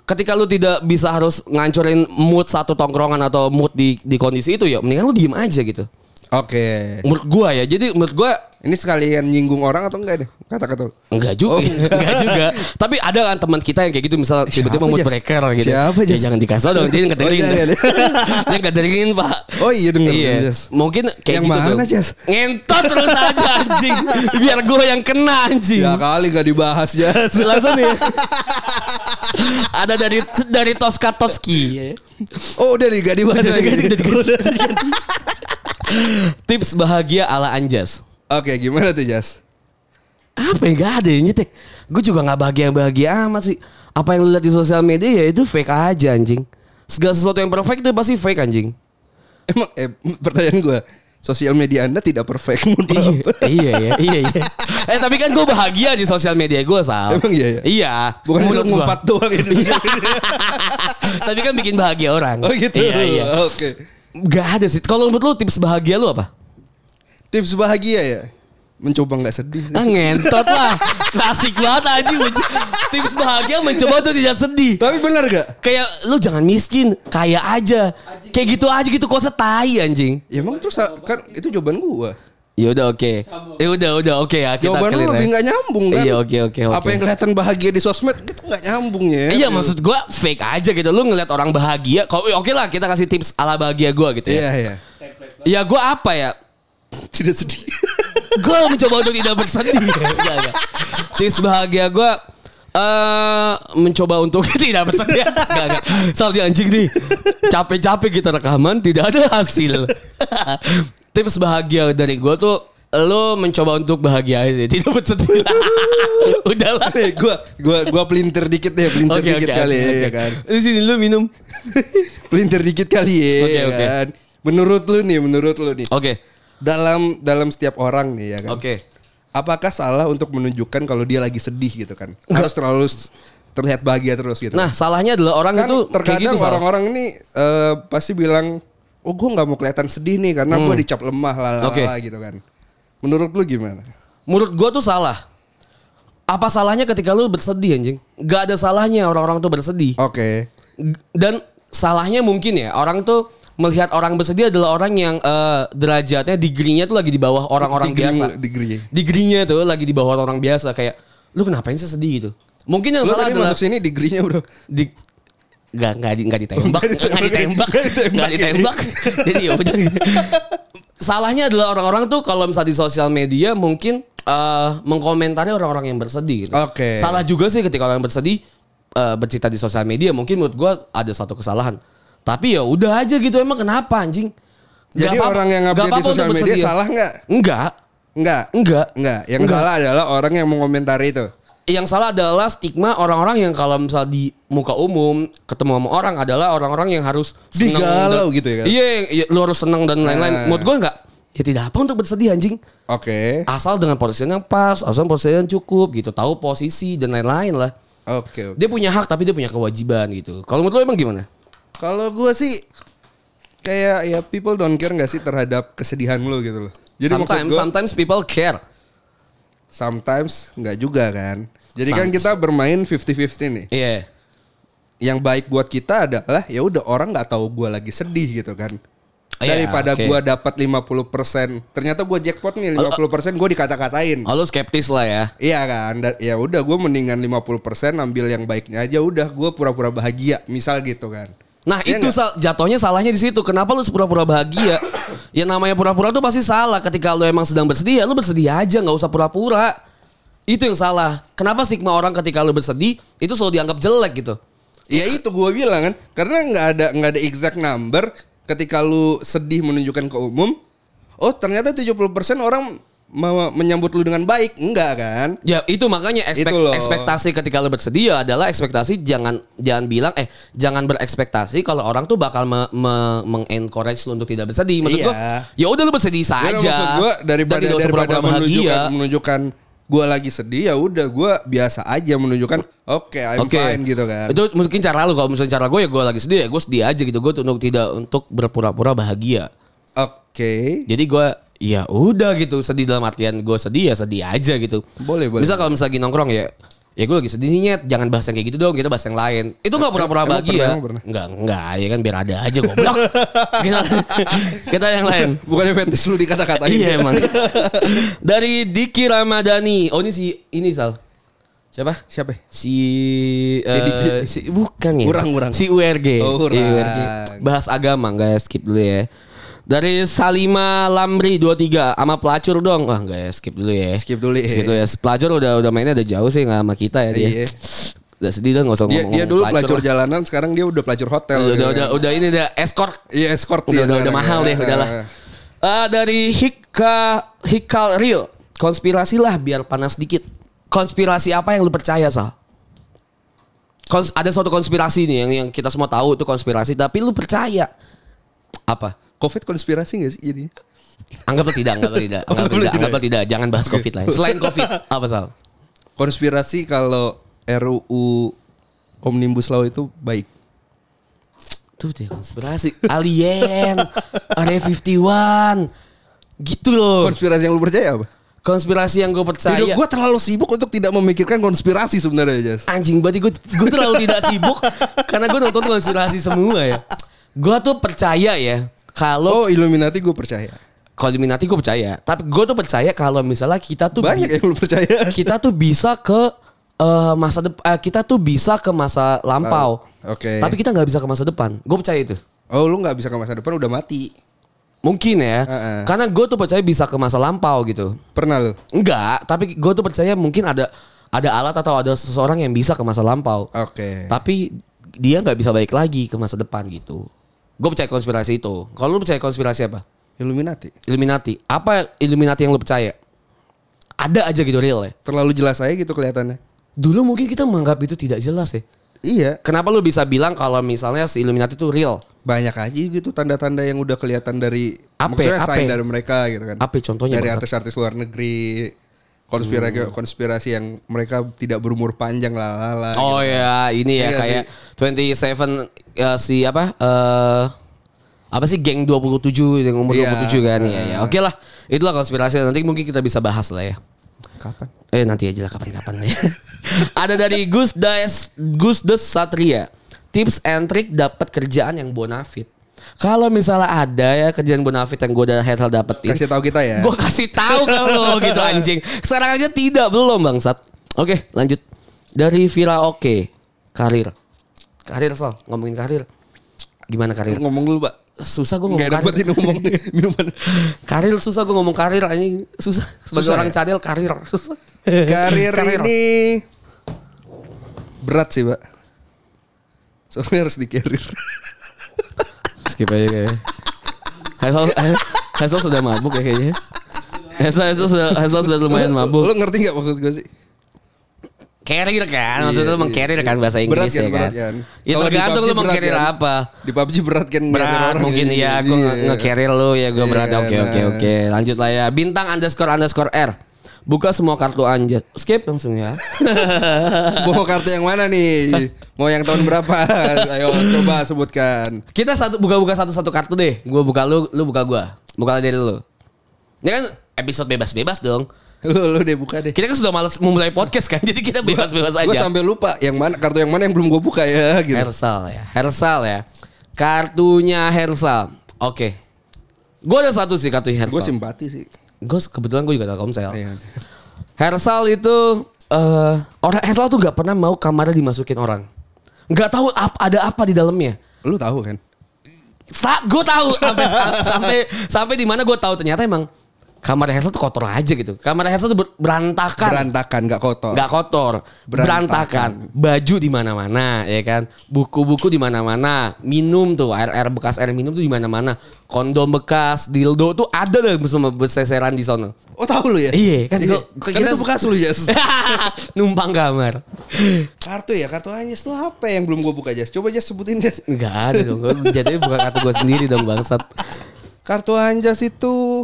Speaker 3: Ketika lu tidak bisa harus ngancurin mood satu tongkrongan atau mood di di kondisi itu ya, mendingan lu diem aja gitu.
Speaker 2: Oke.
Speaker 3: Menurut gua ya, jadi menurut gua
Speaker 2: Ini sekalian nyinggung orang atau enggak deh? Kata-kata.
Speaker 3: Enggak juga,
Speaker 2: Oh, enggak.
Speaker 3: enggak juga. Tapi ada kan teman kita yang kayak gitu misalnya tiba-tiba
Speaker 2: Siapa,
Speaker 3: mood
Speaker 2: Jas?
Speaker 3: breaker gitu.
Speaker 2: Siapa,
Speaker 3: ya
Speaker 2: Jas?
Speaker 3: jangan dikasih tau dong dia ngedengerin.
Speaker 2: Oh, iya, iya,
Speaker 3: dia ngedengerin, Pak.
Speaker 2: Oh iya denger
Speaker 3: iya.
Speaker 2: Jas.
Speaker 3: Mungkin kayak
Speaker 2: Yang
Speaker 3: gitu.
Speaker 2: mana,
Speaker 3: tuh.
Speaker 2: Jas?
Speaker 3: Ngentot terus aja anjing. Biar gue yang kena anjing.
Speaker 2: Ya kali gak dibahas Jas.
Speaker 3: Langsung nih. ada dari dari Tosca
Speaker 2: Iya,
Speaker 3: Toski.
Speaker 2: Oh udah nih gak dibahas
Speaker 3: Udah
Speaker 2: lagi.
Speaker 3: diganti, udah Tips bahagia ala Anjas.
Speaker 2: Oke gimana tuh Jas?
Speaker 3: apa yang gak ada ya teh gue juga nggak bahagia bahagia amat sih apa yang lu lihat di sosial media ya itu fake aja anjing segala sesuatu yang perfect itu pasti fake anjing
Speaker 2: Emang eh, pertanyaan gue. Sosial media anda tidak perfect. Mohon
Speaker 3: iya
Speaker 2: maaf.
Speaker 3: iya iya iya iya. eh tapi kan gue bahagia di sosial media gue sal
Speaker 2: Emang iya, iya?
Speaker 3: iya
Speaker 2: Bukan lu
Speaker 3: menurut gua. Iya.
Speaker 2: ngumpat doang ya di sosial media.
Speaker 3: tapi kan bikin bahagia orang
Speaker 2: Oh gitu.
Speaker 3: iya iya
Speaker 2: Oke.
Speaker 3: Gak ada sih. Kalau menurut lu tips bahagia lu apa?
Speaker 2: Tips bahagia ya. Mencoba nggak sedih. sih.
Speaker 3: Ah ngentot lah. Klasik banget anjing. Tips bahagia mencoba untuk tidak sedih.
Speaker 2: Tapi benar gak?
Speaker 3: Kayak lu jangan miskin, kaya aja. Kayak gitu aja gitu konsep tai anjing.
Speaker 2: Ya emang terus kan itu jawaban gua.
Speaker 3: Ya udah oke. Ya udah udah oke ya kita
Speaker 2: Jawaban lu
Speaker 3: clear ya.
Speaker 2: lebih nggak nyambung kan?
Speaker 3: Iya, oke, oke, oke.
Speaker 2: Apa yang kelihatan bahagia di sosmed itu nggak nyambung ya?
Speaker 3: Iya maksud gua fake aja gitu. Lu ngeliat orang bahagia, kalau oke lah kita kasih tips ala bahagia gua gitu
Speaker 2: Iya
Speaker 3: ya.
Speaker 2: iya.
Speaker 3: Ya gua apa ya?
Speaker 2: Tidak sedih.
Speaker 3: Gua mencoba untuk tidak bersedih. Enggak, enggak. Tips bahagia gua eh mencoba untuk tidak bersedih. Enggak, enggak. Soal dia anjing nih. Capek-capek kita rekaman tidak ada hasil. Tips bahagia dari gua tuh lu mencoba untuk bahagia aja tidak bersedih. Udahlah.
Speaker 2: Nih, Eh, gua gua gua pelintir dikit deh, pelintir
Speaker 3: Oke
Speaker 2: dikit
Speaker 3: oke.
Speaker 2: kali ya,
Speaker 3: oke.
Speaker 2: ya kan.
Speaker 3: Di sini lu minum.
Speaker 2: Pelintir dikit kali ya,
Speaker 3: Oke,
Speaker 2: ya
Speaker 3: oke.
Speaker 2: kan. Menurut lu nih, menurut lu nih.
Speaker 3: Oke.
Speaker 2: Dalam dalam setiap orang nih ya kan.
Speaker 3: Oke.
Speaker 2: Apakah salah untuk menunjukkan kalau dia lagi sedih gitu kan? Harus terlalu s- terlihat bahagia terus gitu.
Speaker 3: Nah, salahnya adalah orang
Speaker 2: kan
Speaker 3: itu kayak
Speaker 2: terkadang
Speaker 3: gitu Sal.
Speaker 2: orang-orang ini eh, pasti bilang oh gue nggak mau kelihatan sedih nih karena gue dicap lemah lah
Speaker 3: Hmm. Oke.
Speaker 2: gitu kan. Menurut lu gimana?
Speaker 3: Menurut gua tuh salah. Apa salahnya ketika lu bersedih anjing? Gak ada salahnya orang-orang tuh bersedih.
Speaker 2: Oke.
Speaker 3: G- Dan salahnya mungkin ya orang tuh melihat orang bersedih adalah orang yang eh, derajatnya, degree-nya tuh lagi di bawah orang-orang
Speaker 2: Degree-
Speaker 3: biasa.
Speaker 2: degree.
Speaker 3: Degree-nya tuh lagi di bawah orang biasa kayak lu kenapain sih sedih gitu? Mungkin yang
Speaker 2: Lu
Speaker 3: salah
Speaker 2: tadi
Speaker 3: adalah
Speaker 2: masuk sini degree-nya bro.
Speaker 3: di nggak nggak di, nggak ditembak nggak
Speaker 2: Nggak
Speaker 3: ditembak
Speaker 2: ditembak.
Speaker 3: nggak ditembak jadi ya udah salahnya adalah orang-orang tuh kalau misalnya di sosial media mungkin eh, mengkomentari orang-orang yang bersedih gitu.
Speaker 2: Oke.
Speaker 3: salah juga sih ketika orang yang bersedih eh, bercerita di sosial media mungkin menurut gua ada satu kesalahan tapi ya udah aja gitu emang kenapa anjing Nggak
Speaker 2: Jadi
Speaker 3: apa-apa-
Speaker 2: orang yang
Speaker 3: nggak
Speaker 2: update di
Speaker 3: apa-apa
Speaker 2: sosial
Speaker 3: untuk
Speaker 2: media
Speaker 3: bersedih. ya.
Speaker 2: salah nggak?
Speaker 3: enggak
Speaker 2: Enggak.
Speaker 3: enggak
Speaker 2: Enggak. Yang salah adalah orang yang mengomentari itu.
Speaker 3: yang salah adalah stigma orang-orang yang kalau misal di muka umum ketemu sama orang adalah orang-orang yang harus seneng
Speaker 2: Digalau
Speaker 3: dan-
Speaker 2: gitu ya kan?
Speaker 3: Iya, iya, lu harus seneng dan
Speaker 2: Nah.
Speaker 3: lain-lain. Menurut gua enggak ya tidak apa untuk bersedih anjing.
Speaker 2: Oke.
Speaker 3: Asal dengan posisinya yang pas, asal posisinya yang cukup gitu, tahu posisi dan lain-lain lah.
Speaker 2: Oke. oke.
Speaker 3: Dia punya hak tapi dia punya kewajiban gitu. Kalau menurut lu emang gimana?
Speaker 2: Kalau gue sih kayak ya people don't care nggak sih terhadap kesedihan lu gitu loh. Jadi maksud
Speaker 3: sometimes
Speaker 2: gue
Speaker 3: sometimes people care.
Speaker 2: sometimes nggak juga kan. Jadi kan
Speaker 3: Sometimes.
Speaker 2: kita bermain 50-50 nih.
Speaker 3: Iya.
Speaker 2: Yang baik buat kita adalah ya udah orang nggak tahu gue lagi sedih gitu kan.
Speaker 3: Iya,
Speaker 2: Daripada
Speaker 3: oke.
Speaker 2: gue dapat 50%, ternyata gue jackpot nih 50% gue dikata-katain.
Speaker 3: Oh, lu skeptis lah ya.
Speaker 2: Iya kan, da- ya udah gue mendingan 50% ambil yang baiknya aja udah gue pura-pura bahagia misal gitu kan.
Speaker 3: Nah
Speaker 2: Iya
Speaker 3: itu
Speaker 2: nggak?
Speaker 3: sal- jatuhnya salahnya di situ. Kenapa lu pura-pura bahagia? ya namanya pura-pura tuh pasti salah. Ketika lu emang sedang bersedih, ya lu bersedih aja, nggak usah pura-pura. Itu yang salah. Kenapa stigma orang ketika lu bersedih itu selalu dianggap jelek gitu?
Speaker 2: Ya itu gue bilang kan, karena nggak ada nggak ada exact number ketika lu sedih menunjukkan ke umum. Oh ternyata 70% orang me- menyambut lu dengan baik, enggak kan?
Speaker 3: Ya itu makanya ekspek-
Speaker 2: Itu loh.
Speaker 3: ekspektasi ketika lu bersedih ya adalah ekspektasi jangan jangan bilang eh jangan berekspektasi kalau orang tuh bakal me- me- mengencourage lu untuk tidak bersedih. Maksud
Speaker 2: Iya.
Speaker 3: gua ya udah lu bersedih
Speaker 2: Karena
Speaker 3: saja.
Speaker 2: Maksud gue daripada
Speaker 3: Dan tidak usah
Speaker 2: daripada
Speaker 3: pura-pura
Speaker 2: menunjukkan menunjukkan gue lagi sedih ya udah gue biasa aja menunjukkan oke I'm
Speaker 3: Oke.
Speaker 2: fine gitu kan.
Speaker 3: Itu mungkin cara lu kalau misalnya cara gue ya gue lagi sedih ya gue sedih aja gitu. Gue tuh untuk tidak untuk berpura-pura bahagia.
Speaker 2: Oke.
Speaker 3: Jadi gue ya udah gitu sedih dalam artian gue sedih ya sedih aja gitu.
Speaker 2: Boleh, boleh.
Speaker 3: Bisa kalau misalnya lagi nongkrong ya ya gue lagi sedih nih Nyet. jangan bahas yang kayak gitu dong kita bahas yang lain itu nggak
Speaker 2: Eh,
Speaker 3: pura-pura
Speaker 2: Emang pernah,
Speaker 3: bahagia
Speaker 2: emang pernah?
Speaker 3: nggak nggak ya kan biar ada aja goblok kita kita yang lain
Speaker 2: Bukan fetish lu dikata-katain.
Speaker 3: iya emang dari Diki Ramadhani oh ini si ini sal siapa
Speaker 2: Siapa? ya?
Speaker 3: si,
Speaker 2: Didi.
Speaker 3: eh, si bukan ya
Speaker 2: Urang, urang.
Speaker 3: si URG.
Speaker 2: Oh, urang.
Speaker 3: Iya, bahas agama nggak ya skip dulu ya dari Salima Lamri 23 sama pelacur dong wah nggak ya skip dulu ya
Speaker 2: Skip dulu ya.
Speaker 3: skip dulu ya pelacur udah udah mainnya udah jauh sih nggak sama kita ya dia
Speaker 2: Iya.
Speaker 3: udah sedih dong nggak usah
Speaker 2: Dia,
Speaker 3: ngomong,
Speaker 2: dia dulu pelacur
Speaker 3: lah.
Speaker 2: jalanan, sekarang dia udah pelacur hotel.
Speaker 3: udah,
Speaker 2: gitu
Speaker 3: udah,
Speaker 2: kan.
Speaker 3: udah, udah ini udah escort
Speaker 2: Iya escort
Speaker 3: udah, udah, udah
Speaker 2: sekarang
Speaker 3: mahal
Speaker 2: ya.
Speaker 3: deh udahlah Eh, dari Hika Hikal Real konspirasi lah biar panas dikit konspirasi apa yang lu percaya Sal? Kons- ada suatu konspirasi nih yang yang kita semua tahu itu konspirasi tapi lu percaya apa
Speaker 2: Covid konspirasi gak sih jadi?
Speaker 3: anggaplah tidak anggaplah tidak anggaplah tidak anggaplah tidak jangan bahas covid lah ya. selain covid apa Sal?
Speaker 2: Konspirasi kalau RUU Omnibus Law itu baik.
Speaker 3: tuh dia konspirasi alien area 51 gitu loh
Speaker 2: Konspirasi yang lu percaya apa?
Speaker 3: konspirasi yang gue percaya
Speaker 2: Hidup gue terlalu sibuk untuk tidak memikirkan konspirasi sebenarnya Jas.
Speaker 3: Anjing berarti gue gue terlalu tidak sibuk karena gue nonton konspirasi semua ya. Gue tuh percaya ya kalau
Speaker 2: Oh Illuminati gue percaya.
Speaker 3: kalau Illuminati gue percaya, tapi gue tuh percaya kalau misalnya kita tuh
Speaker 2: Banyak ya. yang lu percaya.
Speaker 3: kita tuh bisa ke eh, masa depan kita tuh bisa ke masa lampau.
Speaker 2: Oke.
Speaker 3: Tapi kita nggak bisa ke masa depan. Gue percaya itu.
Speaker 2: Oh lu nggak bisa ke masa depan udah mati.
Speaker 3: Mungkin ya.
Speaker 2: Heeh.
Speaker 3: Karena gue tuh percaya bisa ke masa lampau gitu.
Speaker 2: Pernah lu?
Speaker 3: Enggak, tapi gue tuh percaya mungkin ada ada alat atau ada seseorang yang bisa ke masa lampau.
Speaker 2: Oke.
Speaker 3: Tapi dia nggak bisa balik lagi ke masa depan gitu. Gue percaya konspirasi itu. Kalau lu percaya konspirasi apa?
Speaker 2: Illuminati.
Speaker 3: Illuminati. Apa Illuminati yang lu percaya? Ada aja gitu real ya.
Speaker 2: Terlalu jelas aja gitu kelihatannya.
Speaker 3: Dulu mungkin kita menganggap itu tidak jelas ya.
Speaker 2: Iya.
Speaker 3: Kenapa lu bisa bilang kalau misalnya si Illuminati itu real?
Speaker 2: banyak aja gitu tanda-tanda yang udah kelihatan dari
Speaker 3: Apa,
Speaker 2: maksudnya sign
Speaker 3: apa?
Speaker 2: dari mereka gitu kan.
Speaker 3: Apa
Speaker 2: Dari
Speaker 3: contohnya, Bang? Hmm.
Speaker 2: artis-artis luar negeri konspirasi konspirasi yang mereka tidak berumur panjang lah lah.
Speaker 3: Oh ya, ini ya
Speaker 2: Iya
Speaker 3: kayak 27 eh, si apa? eh apa sih geng 27 yang umur
Speaker 2: Iya.
Speaker 3: 27 kan. Iya, iya. Oke lah. Itulah konspirasi nanti mungkin kita bisa bahas lah ya.
Speaker 2: gitu. Kapan?
Speaker 3: Eh nanti aja lah kapan-kapan lah ya. Ada dari Gus Des Gus Des Satria. Tips and trick dapat kerjaan yang bonafit. Kalau misalnya ada ya kerjaan bonafit yang gue dan Hersal dapetin,
Speaker 2: Kasih tahu kita ya.
Speaker 3: gue kasih tahu ke lo gitu anjing. Sekarang aja tidak belum bangsat. Oke lanjut dari Vira Oke karir karir Sal ngomongin karir gimana karir
Speaker 2: Ngomong dulu, Pak.
Speaker 3: susah gue ngomong
Speaker 2: Enggak dapat
Speaker 3: karir
Speaker 2: ini ngomong minuman.
Speaker 3: karir susah gue ngomong karir anjing susah sebagai
Speaker 2: Susah
Speaker 3: orang
Speaker 2: ya?
Speaker 3: cadel karir susah
Speaker 2: Karir ini berat sih, Pak. Soalnya harus dikarir.
Speaker 3: Skip aja kayaknya. Hazel, eh, Hazel sudah mabuk ya kayaknya. Hazel, Hazel sudah, Hazel sudah lumayan mabuk.
Speaker 2: Lu ngerti nggak maksud gue sih?
Speaker 3: Carrier kan,
Speaker 2: Iya,
Speaker 3: maksudnya lu meng-carrier
Speaker 2: iya.
Speaker 3: kan bahasa
Speaker 2: Berat
Speaker 3: Inggris
Speaker 2: kan,
Speaker 3: ya kan.
Speaker 2: berat kan.
Speaker 3: Ya
Speaker 2: Kalau di
Speaker 3: tergantung
Speaker 2: PUBG
Speaker 3: lu
Speaker 2: berat
Speaker 3: meng-carrier
Speaker 2: kan.
Speaker 3: apa.
Speaker 2: Di PUBG berat kan nggak ada
Speaker 3: Berat
Speaker 2: orang
Speaker 3: mungkin
Speaker 2: ini.
Speaker 3: ya, gue
Speaker 2: Iya.
Speaker 3: nge-carrier lu ya gue berat.
Speaker 2: Iya,
Speaker 3: Oke, oke,
Speaker 2: nah.
Speaker 3: oke. Lanjut lah ya. Bintang underscore underscore R. Buka semua kartu anjat. Skip langsung ya.
Speaker 2: Mau kartu yang mana nih? Mau yang tahun berapa? Ayo coba sebutkan.
Speaker 3: Kita satu buka-buka satu-satu kartu deh. Gue buka lu, lu buka gue. Buka dari lu. Ini kan episode bebas-bebas dong.
Speaker 2: Lu lu deh buka deh.
Speaker 3: Kita kan sudah males memulai podcast kan. Jadi kita bebas-bebas aja.
Speaker 2: Gue sampai lupa yang mana kartu yang mana yang belum gue buka ya gitu.
Speaker 3: Hersal ya. Hersal ya. Kartunya Hersal. Oke. Gue ada satu sih kartu Hersal.
Speaker 2: Gue
Speaker 3: Gue
Speaker 2: simpati sih.
Speaker 3: kebetulan gue juga Telkomsel.
Speaker 2: Iya.
Speaker 3: Hersal itu eh orang Hersal tuh nggak pernah mau kamarnya dimasukin orang. Nggak tahu ap- ada apa di dalamnya.
Speaker 2: Lu tahu kan?
Speaker 3: gue tahu sampai sampai sampai di mana gue tahu ternyata emang kamar Hersal tuh kotor aja gitu. Kamar Hersal tuh ber- berantakan.
Speaker 2: Berantakan nggak kotor.
Speaker 3: Kan. nggak kotor, berantakan,
Speaker 2: Berantakan.
Speaker 3: baju di mana-mana, ya kan, buku-buku di mana-mana, minum tuh air air bekas air minum tuh di mana-mana, kondom bekas, dildo tuh ada deh semua berseseran di sana.
Speaker 2: Oh tahu lu ya?
Speaker 3: Iya, kan gua-
Speaker 2: Kan
Speaker 3: kita-
Speaker 2: itu bekas lu Jas.
Speaker 3: Numpang kamar.
Speaker 2: kartu ya, kartu Anyes tuh apa yang belum gue buka Jas? Coba Jas sebutin Jas.
Speaker 3: Enggak ada dong, gue jadinya bukan kartu gue sendiri dong bangsat.
Speaker 2: Kartu Anjas itu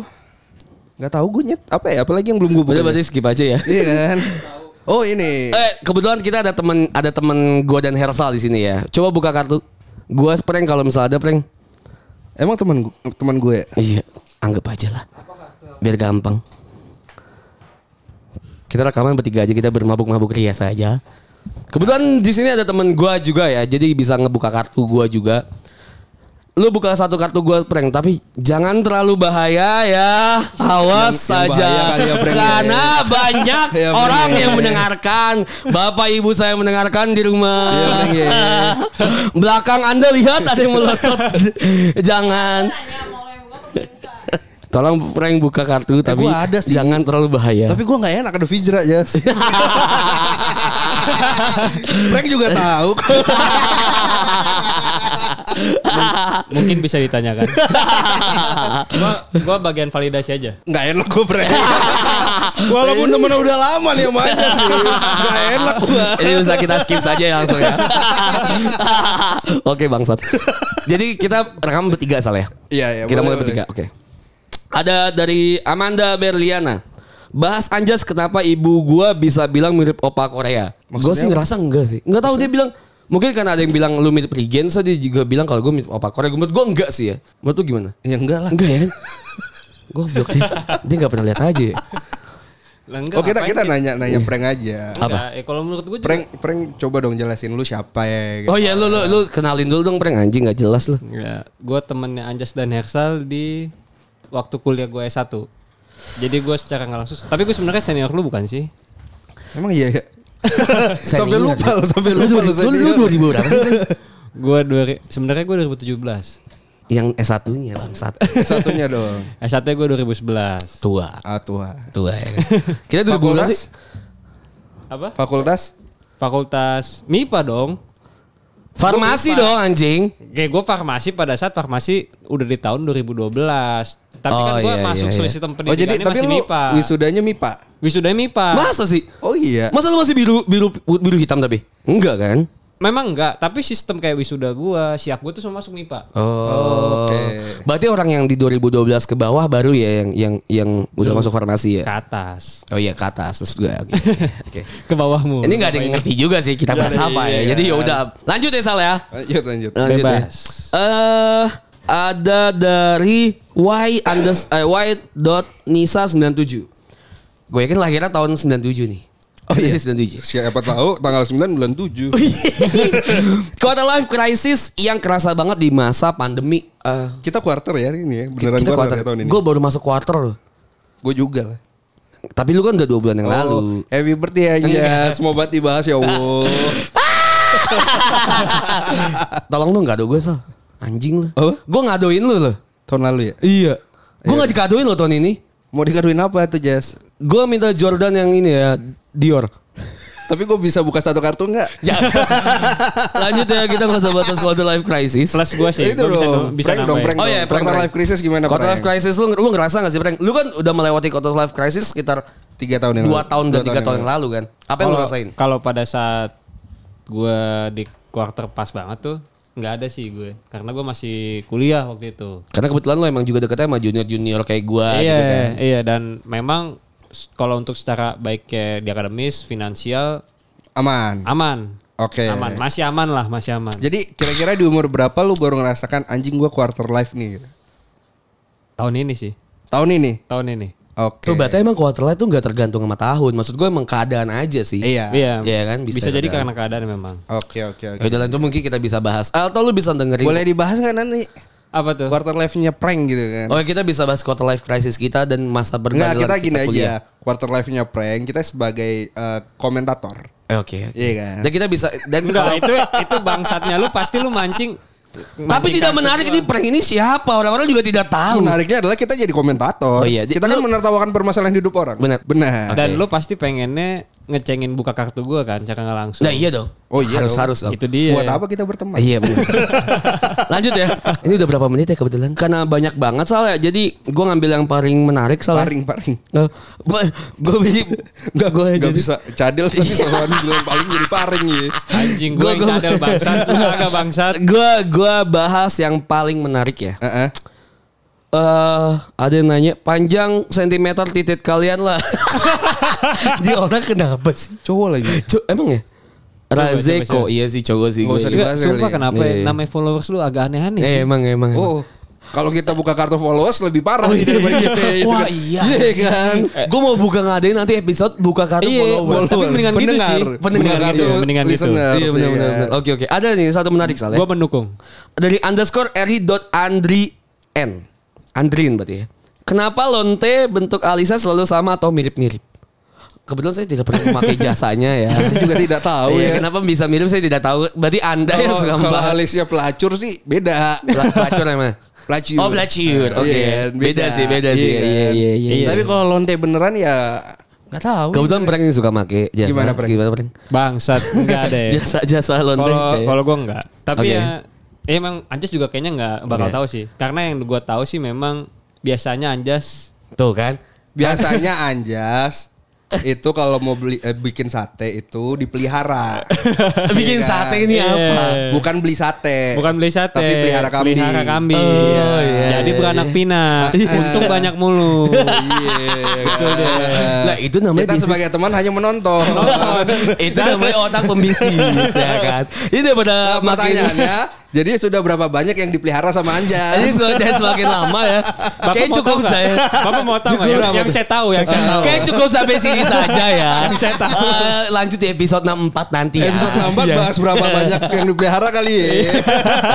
Speaker 2: nggak tahu gue nyet apa ya? Apalagi yang belum gue buka.
Speaker 3: Udah berarti
Speaker 2: Jas?
Speaker 3: skip aja ya.
Speaker 2: Iya kan? Oh ini.
Speaker 3: Eh, kebetulan kita ada temen ada temen gue dan Hersal di sini ya. Coba buka kartu. Gue prank kalau misalnya ada prank.
Speaker 2: Emang teman gu- teman gue.
Speaker 3: Iya, anggap aja lah. Biar gampang. Kita rekaman bertiga aja, kita bermabuk-mabuk
Speaker 2: Iya,
Speaker 3: ria saja. Kebetulan di sini ada temen gua juga ya, jadi bisa ngebuka kartu gua juga. Lu buka satu kartu gua prank, tapi jangan terlalu bahaya ya. Awas
Speaker 2: Yang- yang
Speaker 3: saja.
Speaker 2: bahaya kali ya, prank ya.
Speaker 3: Karena banyak
Speaker 2: Ya, prank
Speaker 3: orang
Speaker 2: ya.
Speaker 3: yang mendengarkan. Bapak ibu saya mendengarkan di rumah.
Speaker 2: Iya, prank ya.
Speaker 3: Belakang Anda lihat ada yang melotot. jangan. Tolong Frank buka kartu tapi
Speaker 2: Eh, gua ada sih.
Speaker 3: jangan terlalu bahaya.
Speaker 2: Tapi gue nggak enak ada Vijra Jas. Frank juga tahu.
Speaker 1: Mungkin bisa ditanyakan. gua, gua bagian validasi aja.
Speaker 2: Nggak enak gue Frank. Walaupun
Speaker 3: Ini-
Speaker 2: temen udah lama nih sama Anjas sih. Nggak enak gue.
Speaker 3: Ini bisa kita skip saja ya langsung ya. Oke bangsat. Jadi kita rekam bertiga salah ya.
Speaker 2: Iya, iya,
Speaker 3: Kita
Speaker 2: boleh,
Speaker 3: mulai bertiga.
Speaker 2: boleh.
Speaker 3: Oke. Ada dari Amanda Berliana. Bahas Anjas kenapa ibu gua bisa bilang mirip opa Korea. Gue
Speaker 2: Maksudnya
Speaker 3: sih
Speaker 2: apa?
Speaker 3: ngerasa enggak sih. Enggak tahu dia bilang mungkin karena ada yang bilang lu mirip Rigen, so dia juga bilang kalau gue mirip opa Korea. Gua Menurut gue enggak sih ya. Menurut lu gimana?
Speaker 2: Ya enggak lah.
Speaker 3: Enggak ya? Goblok dia. Dia enggak pernah lihat aja. ya.
Speaker 2: Oh kita kita nanya nanya prank
Speaker 3: Iya.
Speaker 2: aja.
Speaker 1: Apa? Ya, kalau menurut gua juga-
Speaker 2: Prank prank coba dong jelasin lu siapa ya. gitu.
Speaker 3: Oh iya lu lu lu kenalin dulu dong prank anjing enggak jelas lu.
Speaker 1: Ya, gue temennya Anjas dan Hersal di waktu kuliah gue S1. Jadi gue secara nggak langsung, tapi gue sebenarnya senior lu bukan sih?
Speaker 2: Emang iya ya. sampai lupa lu sampai lupa lu
Speaker 3: Oh. Lu
Speaker 2: sendiri.
Speaker 3: lu 2000 berapa sih? Prank?
Speaker 1: Gue sebenarnya gue 2017.
Speaker 3: Yang S1-nya bangsat.
Speaker 2: Satunya dong.
Speaker 1: S1 gue 2011.
Speaker 3: Tua.
Speaker 2: Ah Tuhan.
Speaker 3: Tua ya. kan? Kita 2012 sih.
Speaker 2: Fakultas?
Speaker 1: Apa?
Speaker 2: Fakultas?
Speaker 1: Fakultas MIPA dong.
Speaker 3: Farmasi
Speaker 1: Gua lupa.
Speaker 3: dong anjing.
Speaker 1: Kayak gue farmasi pada saat farmasi udah di tahun 2012. Tapi kan
Speaker 3: Oh,
Speaker 1: gue
Speaker 3: iya,
Speaker 1: masuk
Speaker 3: iya, iya.
Speaker 1: sistem
Speaker 2: Oh jadi
Speaker 1: pendidikannya
Speaker 2: tapi
Speaker 1: masih
Speaker 2: lu
Speaker 1: MIPA.
Speaker 2: wisudanya MIPA.
Speaker 1: Wisuda MIPA.
Speaker 3: Masa sih?
Speaker 2: Oh iya.
Speaker 3: Masa lu masih biru biru biru hitam tapi? Enggak kan?
Speaker 1: Memang enggak, tapi sistem kayak wisuda gue, siak gue tuh semua masuk MIPA.
Speaker 3: Oh.
Speaker 2: Oke.
Speaker 3: Berarti orang yang di 2012 ke bawah baru ya yang yang yang udah masuk farmasi ya.
Speaker 1: Ke atas.
Speaker 3: Oh iya ke atas maksud gue. Oke. Oke.
Speaker 1: Ke bawahmu.
Speaker 3: Ini nggak ada yang ngerti juga sih iya. kita bahas apa ya. Jadi ya udah lanjut ya Sal ya.
Speaker 2: Eh, Lanjut lanjut.
Speaker 3: Lanjut
Speaker 1: Bebas.
Speaker 3: ya. Eh Ada dari y unders eh, y dot nisa 97. Gue yakin lahirnya tahun 97 nih. Oh iya 97.
Speaker 2: Siapa tahu tanggal 9 bulan 7.
Speaker 3: Oh, iya. Quarter life crisis yang kerasa banget di masa pandemi. Eh,
Speaker 2: Kita quarter ya hari ini ya. Beneran
Speaker 3: kita
Speaker 2: quarter,
Speaker 3: quarter.
Speaker 2: ya tahun ini.
Speaker 3: Gue baru masuk quarter.
Speaker 2: Gue juga lah.
Speaker 3: Tapi lu kan udah dua bulan yang
Speaker 2: Oh,
Speaker 3: lalu.
Speaker 2: happy birthday aja. Semua banget dibahas ya Allah.
Speaker 3: Tolong dong ngado gue Sal. Anjing lu.
Speaker 2: Apa?
Speaker 3: Gue ngadoin lu loh.
Speaker 2: tahun lalu ya.
Speaker 3: Iya. Gue nggak dikadoin lo tahun ini.
Speaker 2: Mau dikaduin apa tuh Jas?
Speaker 3: Gue minta Jordan yang ini ya Dior.
Speaker 2: Tapi gue bisa buka satu kartu nggak?
Speaker 3: Ya. Lanjut ya kita nggak usah batas quarter life crisis.
Speaker 1: Plus gue sih.
Speaker 2: itu
Speaker 1: gua bisa,
Speaker 2: dong.
Speaker 1: dong, bisa
Speaker 2: prank dong,
Speaker 1: nambahin.
Speaker 2: prank
Speaker 3: Oh
Speaker 2: dong.
Speaker 3: iya, prank,
Speaker 2: Quarter
Speaker 3: prank.
Speaker 2: life crisis gimana
Speaker 3: Quarter life
Speaker 2: prank?
Speaker 3: crisis lu, lu ngerasa gak sih prank? Lu kan udah melewati quarter life crisis sekitar
Speaker 2: Tiga tahun yang
Speaker 3: dua
Speaker 2: lalu.
Speaker 3: tahun dan
Speaker 2: Dua
Speaker 3: tiga tahun yang lalu kan. Apa yang lu
Speaker 1: Kalau-
Speaker 3: rasain?
Speaker 1: Kalau pada saat gue di quarter pas banget tuh nggak ada sih gue karena gue masih kuliah waktu itu.
Speaker 3: Karena kebetulan lo emang juga deketnya sama junior-junior kayak gua
Speaker 1: iya
Speaker 3: gitu kan.
Speaker 1: iya dan memang s- kalau untuk secara baik kayak di akademis finansial
Speaker 2: Aman.
Speaker 3: Hmm.
Speaker 1: aman.
Speaker 2: Oke.
Speaker 1: Aman masih aman lah masih aman.
Speaker 3: Ya.
Speaker 2: Jadi kira-kira di umur berapa lu baru ngerasakan anjing gue quarter life nih? gitu?
Speaker 1: Tahun ini sih
Speaker 2: Tahun ini.
Speaker 1: tahun ini.
Speaker 2: Oke.
Speaker 3: Tuh berarti emang quarter life tuh gak tergantung sama tahun. Maksud gua emang keadaan aja sih.
Speaker 2: Iya.
Speaker 1: Iya
Speaker 3: Iya kan, bisa
Speaker 1: bisa, jadi
Speaker 3: juga.
Speaker 1: karena keadaan memang.
Speaker 2: Oke oke oke.
Speaker 3: Ya udah lanjut mungkin kita bisa bahas. Atau lu bisa dengerin.
Speaker 2: Boleh dibahas nggak nanti
Speaker 1: Apa tuh?
Speaker 2: quarter life-nya prank gitu kan?
Speaker 3: Oh kita bisa bahas quarter life crisis kita dan masa
Speaker 2: Enggak,
Speaker 3: bergandalan
Speaker 2: kita gini
Speaker 3: kuliah.
Speaker 2: aja. Quarter life-nya prank, kita sebagai eh, komentator.
Speaker 3: Eh, Oke. oke.
Speaker 2: Iya kan?
Speaker 3: Dan kita bisa dan kalau-
Speaker 1: Enggak itu itu bangsatnya lu pasti lu mancing.
Speaker 3: gitu. tapi
Speaker 1: mancing
Speaker 3: tidak
Speaker 1: kasus
Speaker 3: menarik
Speaker 1: gua.
Speaker 3: ini prank ini siapa orang-orang juga tidak tahu.
Speaker 2: Menariknya adalah kita jadi komentator.
Speaker 3: Oh iya, di-
Speaker 2: Kita kan menertawakan permasalahan hidup orang.
Speaker 3: Benar.
Speaker 2: Benar.
Speaker 1: Dan lu pasti pengennya ngecengin buka kartu gua kan cara nggak langsung.
Speaker 3: Nah iya dong.
Speaker 2: Oh, iya
Speaker 3: harus
Speaker 2: dong.
Speaker 3: harus dong.
Speaker 1: Itu dia.
Speaker 2: Buat apa kita berteman?
Speaker 3: Iya benar. Lanjut ya. Ini udah berapa menit ya kebetulan? Karena banyak banget soalnya. Jadi gue ngambil yang paling Eh, menarik soalnya.
Speaker 2: Paring, paring.
Speaker 3: Gue bisa. Gue
Speaker 2: Gak, bisa cadel
Speaker 3: Iya.
Speaker 2: tapi sosokan bilang paling jadi paring ya.
Speaker 1: Anjing gue
Speaker 3: Gua-
Speaker 1: yang
Speaker 3: gua-
Speaker 1: cadel bangsat, lu agak bangsat.
Speaker 3: Gue bahas yang paling menarik ya.
Speaker 2: Heeh.
Speaker 3: Eh ada yang nanya panjang sentimeter titik kalian lah. Di orang kenapa sih?
Speaker 2: Cowok lagi.
Speaker 3: Co- emang ya?
Speaker 1: Coba,
Speaker 3: Razeko
Speaker 1: coba, coba.
Speaker 3: iya sih cowok sih.
Speaker 2: Nggak
Speaker 3: gua
Speaker 2: usah
Speaker 3: ingat.
Speaker 1: Enggak,
Speaker 2: dibahas
Speaker 1: sumpah
Speaker 2: kali.
Speaker 1: kenapa
Speaker 3: Iya,
Speaker 1: ya?
Speaker 3: iya.
Speaker 1: Namanya followers lu agak aneh-aneh sih.
Speaker 3: Eh, emang emang. emang.
Speaker 2: Oh. Kalau kita buka kartu followers lebih parah nih daripada kita. ya
Speaker 3: Oh Wah
Speaker 2: kan?
Speaker 3: iya.
Speaker 2: Iya kan?
Speaker 3: Gue mau buka ngadain nanti episode buka kartu
Speaker 1: Iya,
Speaker 3: followers.
Speaker 1: tapi mendingan gitu
Speaker 2: Pendengar.
Speaker 1: sih.
Speaker 3: Pendengar
Speaker 1: Mendingan
Speaker 2: gitu.
Speaker 1: gitu, mendingan gitu.
Speaker 2: Listener.
Speaker 3: Iya
Speaker 2: Harus
Speaker 3: benar
Speaker 2: iya.
Speaker 3: benar. benar. Oke oke. Ada nih satu menarik soalnya.
Speaker 1: Gue mendukung.
Speaker 3: Dari underscore ri dot andri n. Andrin berarti ya. Kenapa lonte bentuk alisnya selalu sama atau mirip-mirip? Kebetulan saya tidak pernah memakai jasanya ya.
Speaker 2: Saya juga tidak tahu ya.
Speaker 3: Iya, Kenapa bisa mirip saya tidak tahu. Berarti anda yang
Speaker 2: Kalau
Speaker 3: suka
Speaker 2: kalau
Speaker 3: membahas.
Speaker 2: alisnya pelacur sih beda.
Speaker 3: Pla- Pelacur emang.
Speaker 2: Pelacur.
Speaker 3: Oh pelacur. Oke.
Speaker 2: Iya,
Speaker 3: Beda sih, beda
Speaker 2: Iya
Speaker 3: sih.
Speaker 2: kan?
Speaker 3: Iya iya iya.
Speaker 1: Iya.
Speaker 2: Tapi kalau lonte beneran ya nggak tahu.
Speaker 3: Kebetulan prank ini suka make jasa.
Speaker 2: Gimana prank?
Speaker 3: Gimana prank?
Speaker 1: Bangsat, enggak ada ya.
Speaker 3: Jasa jasa lonte.
Speaker 1: Kalau
Speaker 3: kayak.
Speaker 1: kalau gue enggak. Tapi
Speaker 3: Oke.
Speaker 1: ya ya emang Anjas juga kayaknya enggak bakal
Speaker 3: Oke.
Speaker 1: tahu sih. Karena yang gue tahu sih memang biasanya Anjas
Speaker 3: Tuh kan.
Speaker 2: Biasanya anjas itu kalau mau beli eh, bikin sate itu dipelihara. Iya
Speaker 3: Bikin
Speaker 2: kan? Ah,
Speaker 3: sate ini
Speaker 1: Iya.
Speaker 3: apa?
Speaker 2: Bukan beli
Speaker 3: Eh,
Speaker 2: sate.
Speaker 1: bukan beli sate,
Speaker 2: Tapi pelihara kambing.
Speaker 1: Pelihara kambing.
Speaker 3: Oh, iya,
Speaker 1: Jadi
Speaker 3: iya,
Speaker 1: beranak
Speaker 3: iya.
Speaker 1: pinak. Untung banyak mulu.
Speaker 2: Iya. kan?
Speaker 3: Lah, itu namanya
Speaker 2: Kita
Speaker 3: bisnis. Oh,
Speaker 2: sebagai teman hanya menonton.
Speaker 1: Oh,
Speaker 3: itu namanya otak pembisnis ya kan. Ini daripada
Speaker 2: Nah,
Speaker 3: makin
Speaker 2: Pertanyaannya, jadi sudah berapa banyak yang dipelihara sama
Speaker 3: ini
Speaker 2: anjas?
Speaker 3: sudah semakin lama ya.
Speaker 1: Bapak
Speaker 3: Kayaknya
Speaker 1: mau
Speaker 3: cukup
Speaker 1: tahu nggak?
Speaker 3: saya.
Speaker 1: Bapak mau tahu nggak?
Speaker 2: Cukup
Speaker 1: yang,
Speaker 2: apa
Speaker 1: yang
Speaker 2: tuh?
Speaker 1: saya tahu, yang saya tahu.
Speaker 3: Kayaknya cukup sampai sini saja ya.
Speaker 1: Yang saya tahu.
Speaker 3: Eh, lanjut di episode 64 nanti ya.
Speaker 2: Episode 64
Speaker 3: Iya.
Speaker 2: bahas berapa banyak yang dipelihara kali ya.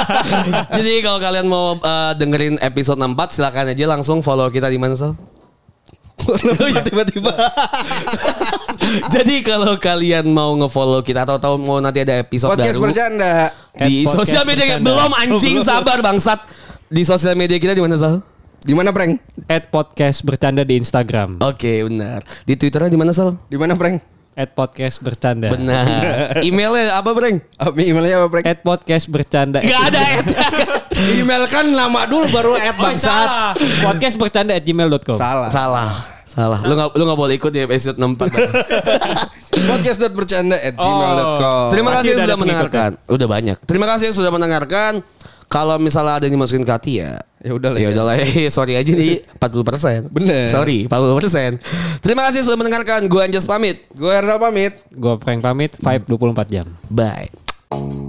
Speaker 3: Jadi kalau kalian mau eh, dengerin episode 64 silakan aja langsung follow kita di mana Sal?
Speaker 2: Kenapa Tiba-tiba.
Speaker 3: Jadi kalau kalian mau nge-follow kita atau tahu mau nanti ada episode
Speaker 2: Podcast
Speaker 3: baru
Speaker 2: bercanda.
Speaker 3: di
Speaker 1: Podcast
Speaker 3: sosial media
Speaker 1: bercanda.
Speaker 3: belum anjing
Speaker 1: Oh, belum.
Speaker 3: sabar bangsat. Di sosial media kita di mana Sal?
Speaker 2: Di mana prank?
Speaker 1: At podcast bercanda di Instagram.
Speaker 3: Oke, benar. Di Twitternya di mana Sal?
Speaker 2: Di mana prank?
Speaker 1: At podcast bercanda.
Speaker 3: Benar. Emailnya apa, Breng?
Speaker 2: Apa emailnya apa prank?
Speaker 1: At podcast bercanda.
Speaker 3: Gak ada Ed.
Speaker 2: Email kan lama dulu baru add
Speaker 1: Oh, salah. Podcast bercanda at gmail.com.
Speaker 2: Salah.
Speaker 3: Salah. Salah. Lu gak, lu gak boleh ikut di episode 64. Bang.
Speaker 2: Podcast.bercanda at gmail.com.
Speaker 3: Terima kasih yang
Speaker 1: Pasti udah
Speaker 3: sudah
Speaker 1: ada
Speaker 3: mendengarkan. Udah banyak. Terima kasih yang sudah mendengarkan. Kalau misalnya ada yang dimasukin ke hati ya.
Speaker 2: Ya udah lah ya.
Speaker 3: Ya udah lah. Sorry aja nih 40%.
Speaker 2: Bener.
Speaker 3: Sorry, 40%. Terima kasih sudah mendengarkan. Gue Anjas pamit.
Speaker 2: Gue Ernal pamit.
Speaker 1: Gue Frank pamit, vibe 24 jam.
Speaker 3: Bye.